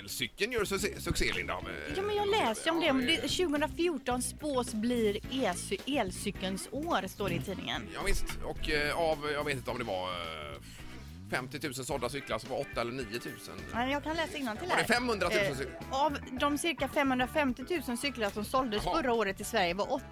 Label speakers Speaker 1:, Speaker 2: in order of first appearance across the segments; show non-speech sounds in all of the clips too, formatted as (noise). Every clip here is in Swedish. Speaker 1: elcykeln gör succé, succé Linda.
Speaker 2: Ja, men jag läser om det. Om det 2014 spås blir elcy- elcykelns år, står det i tidningen.
Speaker 1: Ja, visst. Och eh, av, jag vet inte om det var eh, 50 000 sålda cyklar så var 8 eller 9 000.
Speaker 2: Nej, Jag kan läsa innantill
Speaker 1: Var
Speaker 2: här.
Speaker 1: det 500 000
Speaker 2: Eh,
Speaker 1: cyklar?
Speaker 2: Av de cirka 550 000 cyklar som såldes
Speaker 1: Jaha.
Speaker 2: förra året i Sverige var 8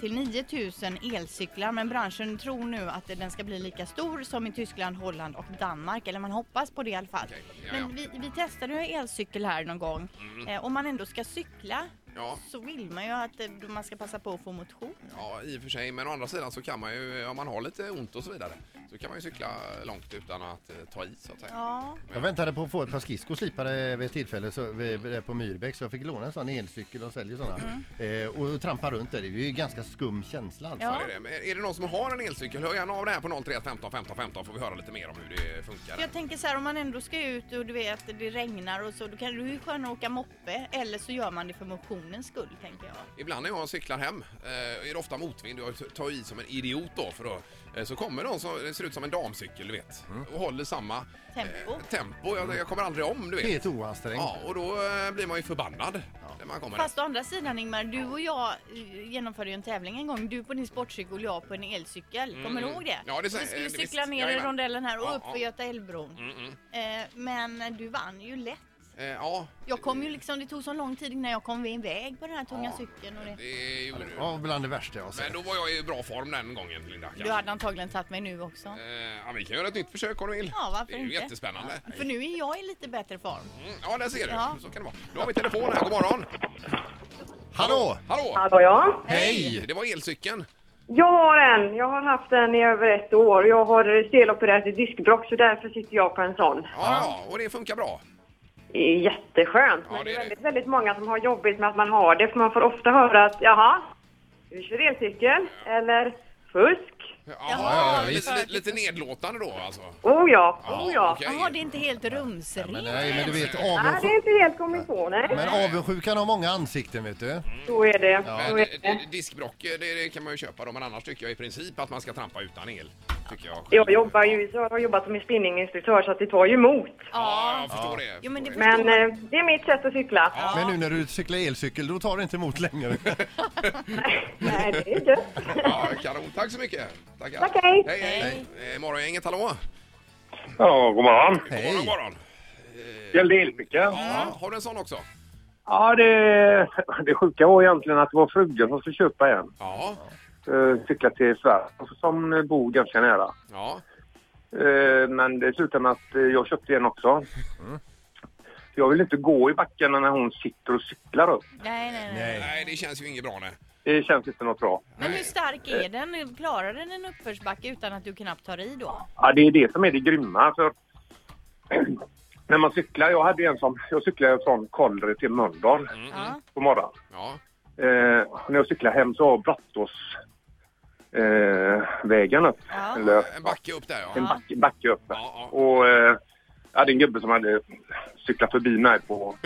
Speaker 2: till 9 000 elcyklar. Men branschen tror nu att den ska bli lika stor som i Tyskland, Holland och Danmark. Eller man hoppas på det i alla fall.
Speaker 1: Okej, ja, ja. Mm.
Speaker 2: Men vi, vi testade ju elcykel här någon gång. Eh, om man ändå ska cykla
Speaker 1: Ja.
Speaker 2: så vill man ju att eh, man ska passa på att få motion.
Speaker 1: Ja, i och för sig. Men å andra sidan så kan man ju, om man har lite ont och så vidare, så kan man ju cykla långt utan att eh, ta i så att säga.
Speaker 2: Ja.
Speaker 3: Jag väntade på att få ett par skridskor slipade vid ett tillfälle så, vid, vid- på Myrbäck så jag fick låna en sån elcykel, och säljer såna.
Speaker 4: Mm.
Speaker 3: Eh, och trampa runt där, det är ju en ganska skum känsla alltså.
Speaker 1: Ja, det är det. Men är det någon som har en elcykel? Hör gärna av det här på 031 15 15 15 får vi höra lite mer om hur det
Speaker 2: För
Speaker 1: funkar.
Speaker 2: Jag tänker så här om man ändå ska ut och du vet det regnar och så då kan du ju skönare åka moppe eller så gör man det för motionens skull tänker jag.
Speaker 1: Ibland när jag cyklar hem eh, är det ofta motvind och jag tar i som en idiot då för då eh, så kommer någon som det ser ut som en damcykel du vet
Speaker 3: Mm.
Speaker 1: och håller samma
Speaker 2: Tempo.
Speaker 1: Eh, tempo. Jag, jag kommer aldrig om du vet.
Speaker 3: Helt oansträngt.
Speaker 1: Ja, och då eh, blir man ju förbannad när man kommer
Speaker 2: Fast å andra sidan Ingmar, du och jag eh, genomförde ju en tävling en gång. Du på din sportcykel och jag på en elcykel. Kommer du ihåg det?
Speaker 1: Mm. Ja, det sä-
Speaker 2: Vi skulle
Speaker 1: eh,
Speaker 2: cykla
Speaker 1: visst.
Speaker 2: ner i
Speaker 1: Jajamän.
Speaker 2: rondellen här och
Speaker 1: Ja, Mm,
Speaker 2: upp för
Speaker 1: ja.
Speaker 2: Göta älvbron. Eh, men du vann ju lätt.
Speaker 1: Eh, ja.
Speaker 2: Jag kom ju liksom, det tog så lång tid innan jag kom iväg på den här tunga
Speaker 1: Ja,
Speaker 2: cykeln. Och det.
Speaker 1: Det gjorde du.
Speaker 3: Ja, bland det värsta jag har
Speaker 1: Men
Speaker 3: sett.
Speaker 1: då var jag i bra form den gången Linda.
Speaker 2: Du hade antagligen tagit mig nu också.
Speaker 1: Eh, ja, vi kan göra ett nytt försök om du vill.
Speaker 2: Ja, varför
Speaker 1: det är ju
Speaker 2: inte?
Speaker 1: jättespännande.
Speaker 2: För nu är jag i lite bättre form.
Speaker 1: Mm, ja, där ser du.
Speaker 2: Ja.
Speaker 1: Så kan det vara. Då har vi telefon här. God morgon!
Speaker 3: Hallå!
Speaker 1: Hallå!
Speaker 4: Hallå ja.
Speaker 3: Hej!
Speaker 1: Det var elcykeln.
Speaker 4: Jag har en. Jag har haft den i över ett år. Jag har stelopererat i diskbråck så därför sitter jag på en sån.
Speaker 1: Ja, ja, och det funkar bra.
Speaker 4: Det är jätteskönt.
Speaker 1: Ja,
Speaker 4: Men
Speaker 1: det
Speaker 4: det
Speaker 1: är det.
Speaker 4: är väldigt, väldigt många som har jobbigt med att man har det för man får ofta höra att jaha, du kör elcykel eller fusk.
Speaker 2: ja,
Speaker 1: li-
Speaker 2: visst.
Speaker 1: li- lite nedlåtande då alltså.
Speaker 4: Oh ja, oh ja.
Speaker 1: okej.
Speaker 2: Jaha, det är inte helt rumsrent.
Speaker 3: Men nej, men du vet
Speaker 4: Nej, det
Speaker 3: avundsjuka.
Speaker 4: är inte helt kommit på, nej.
Speaker 3: Men avundsjukan har många ansikten vet du.
Speaker 4: Så är det. Så
Speaker 1: Men,
Speaker 4: är
Speaker 1: eh,
Speaker 4: det.
Speaker 1: eh, diskbrock eh, det, det kan man ju köpa då, men annars tycker jag i princip att man ska trampa utan el. Tycker jag.
Speaker 4: Jag jobbar ju, jag har jobbat som en spinninginstruktör så att det tar ju emot.
Speaker 1: Ja, jag förstår det.
Speaker 2: Jo, men det
Speaker 1: förstår
Speaker 4: Men eh, det är mitt sätt att cykla.
Speaker 3: Men nu när du cyklar elcykel då tar det inte emot längre. (laughs)
Speaker 4: Nej, det är gött.
Speaker 1: Ja, kanon. Tack så mycket. Tackar.
Speaker 4: Tack, hej.
Speaker 1: Hej, hej. Eh, Morgongänget, hallå.
Speaker 5: Ja,
Speaker 1: God
Speaker 5: god morgon.
Speaker 1: morgon,
Speaker 3: Hej!
Speaker 1: morgon.
Speaker 5: Gällde elcykeln.
Speaker 1: Ja, har du en sån också?
Speaker 5: Ja, det, det sjuka var egentligen att det var frugan som skulle köpa en.
Speaker 1: Ja.
Speaker 5: Eh, Cykla till Sverige, som eh, bor ganska nära.
Speaker 1: Ja.
Speaker 5: Eh, Men det slutade med att eh, jag köpte en också. Jag vill inte gå i backarna när hon sitter och cyklar upp.
Speaker 2: Nej, nej, nej.
Speaker 3: Nej.
Speaker 1: Nej, det känns ju inget bra. Nej.
Speaker 5: Det känns inte något bra.
Speaker 2: Men hur stark är den? Klarar den en uppförsbacke utan att du knappt tar i då?
Speaker 5: Ja, det är det som är det grymma. För (clears throat) när man cyklar, jag hade ju en som, jag cyklade från Kållre till Mölndal
Speaker 2: Ja.
Speaker 5: på morgonen.
Speaker 1: Mm, Ja.
Speaker 5: Eh, när jag cyklade hem så har Brattås eh, vägen upp.
Speaker 2: Ja.
Speaker 5: Eller
Speaker 1: En backe upp där,
Speaker 5: en
Speaker 1: ja.
Speaker 5: back, backe upp.
Speaker 1: Ja, ja.
Speaker 5: Och eh, jag hade en gubbe som hade cyklat förbi mig på,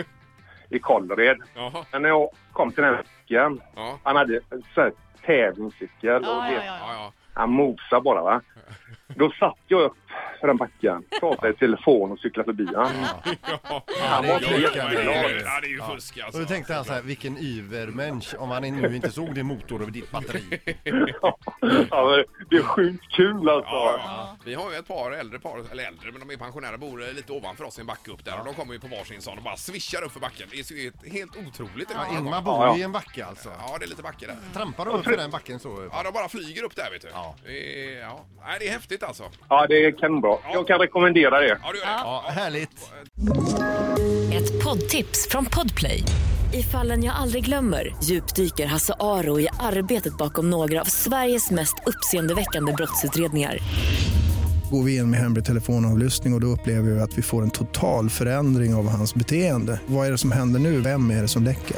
Speaker 5: i Kållered.
Speaker 1: Jaha.
Speaker 5: Men när jag kom till den här cykeln,
Speaker 1: Ja.
Speaker 5: han hade en sån här tävlingscykel och
Speaker 2: Ja,
Speaker 5: det,
Speaker 2: ja, ja.
Speaker 1: Ja, ja.
Speaker 5: han mosade bara va. Då satt jag upp för den backen, pratade i telefon och cyklade förbi honom. Han var
Speaker 3: det
Speaker 5: så
Speaker 3: är
Speaker 5: jätteglad.
Speaker 1: Ja, det är ju fusk
Speaker 3: Och
Speaker 1: alltså.
Speaker 3: då tänkte han så här, vilken yvermensch om han nu inte såg din motor och
Speaker 1: (laughs)
Speaker 3: ditt batteri.
Speaker 5: Ja, men det är sjukt kul
Speaker 1: Ja,
Speaker 5: alltså.
Speaker 1: ja. Vi har ju ett par äldre par, eller äldre, men de är pensionärer, bor eh, lite ovanför oss i en backe upp där och de kommer ju på varsin sån och bara svischar upp för backen. Det är ju ett- helt otroligt. det
Speaker 3: Ja,
Speaker 1: där.
Speaker 3: Ingmar bor ju i en backe alltså.
Speaker 1: Ja, det är lite backe där.
Speaker 3: Trampar du upp i den backen så?
Speaker 1: Ja, de bara flyger upp där vet du.
Speaker 3: Ja.
Speaker 1: Det är- Ja. Nej, det är häftigt alltså.
Speaker 5: Ja, det är kanonbra. Jag kan rekommendera det.
Speaker 1: Ja, du gör det.
Speaker 3: Ja, härligt.
Speaker 6: Ett poddtips från Podplay. I fallen jag aldrig glömmer djupdyker Hasse Aro i arbetet bakom några av Sveriges mest uppseendeväckande brottsutredningar.
Speaker 7: Går vi in med hemlig telefonavlyssning och, och då upplever vi att vi får en total förändring av hans beteende. Vad är det som händer nu? Vem är det som läcker?